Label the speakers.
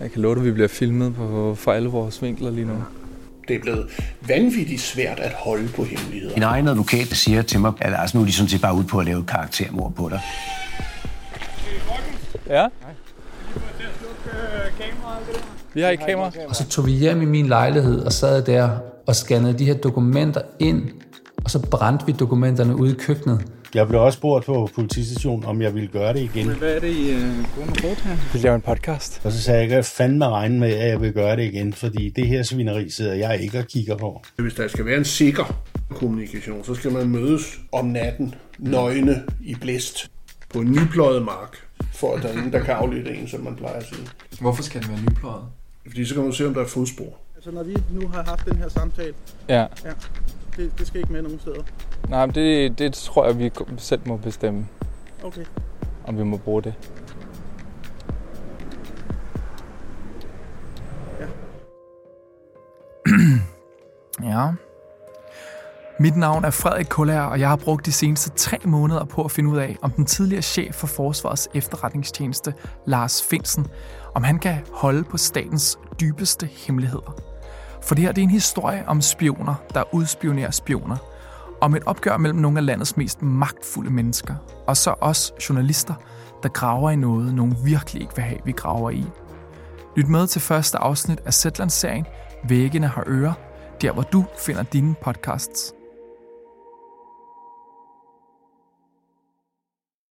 Speaker 1: Jeg kan love dig, at vi bliver filmet på, for alle vores vinkler lige nu.
Speaker 2: Det er blevet vanvittigt svært at holde på hemmeligheder.
Speaker 3: Min egen advokat siger til mig, at Lars, nu er de sådan set bare ude på at lave et karaktermord på dig.
Speaker 1: Ja? Vi har ikke kamera.
Speaker 4: Og så tog vi hjem i min lejlighed og sad der og scannede de her dokumenter ind, og så brændte vi dokumenterne ude i køkkenet.
Speaker 5: Jeg blev også spurgt på politistationen, om jeg ville gøre det igen.
Speaker 6: Hvad er det, I uh, går med her?
Speaker 1: Vi laver en podcast.
Speaker 5: Og så sagde jeg, at jeg fandme regne med, at jeg vil gøre det igen, fordi det her svineri sidder jeg ikke og kigger på.
Speaker 2: Hvis der skal være en sikker kommunikation, så skal man mødes om natten, nøgne i blæst, på en nypløjet mark, for at der er ingen, der kan aflytte en, som man plejer at sige.
Speaker 6: Hvorfor skal den være nypløjet?
Speaker 2: Fordi så kan man se, om der er fodspor.
Speaker 7: Altså, når vi nu har haft den her samtale,
Speaker 1: Ja.
Speaker 7: ja, det, det skal ikke med nogen steder.
Speaker 1: Nej, men det, det tror jeg, vi selv må bestemme,
Speaker 7: Okay.
Speaker 1: om vi må bruge det.
Speaker 8: Ja. Mit navn er Frederik Kullager, og jeg har brugt de seneste tre måneder på at finde ud af, om den tidligere chef for Forsvarets efterretningstjeneste, Lars Finsen, om han kan holde på statens dybeste hemmeligheder. For det her det er en historie om spioner, der udspionerer spioner. Om et opgør mellem nogle af landets mest magtfulde mennesker. Og så os journalister, der graver i noget, nogen virkelig ikke vil have, vi graver i. Lyt med til første afsnit af Zetland-serien Væggene har ører, der hvor du finder dine podcasts.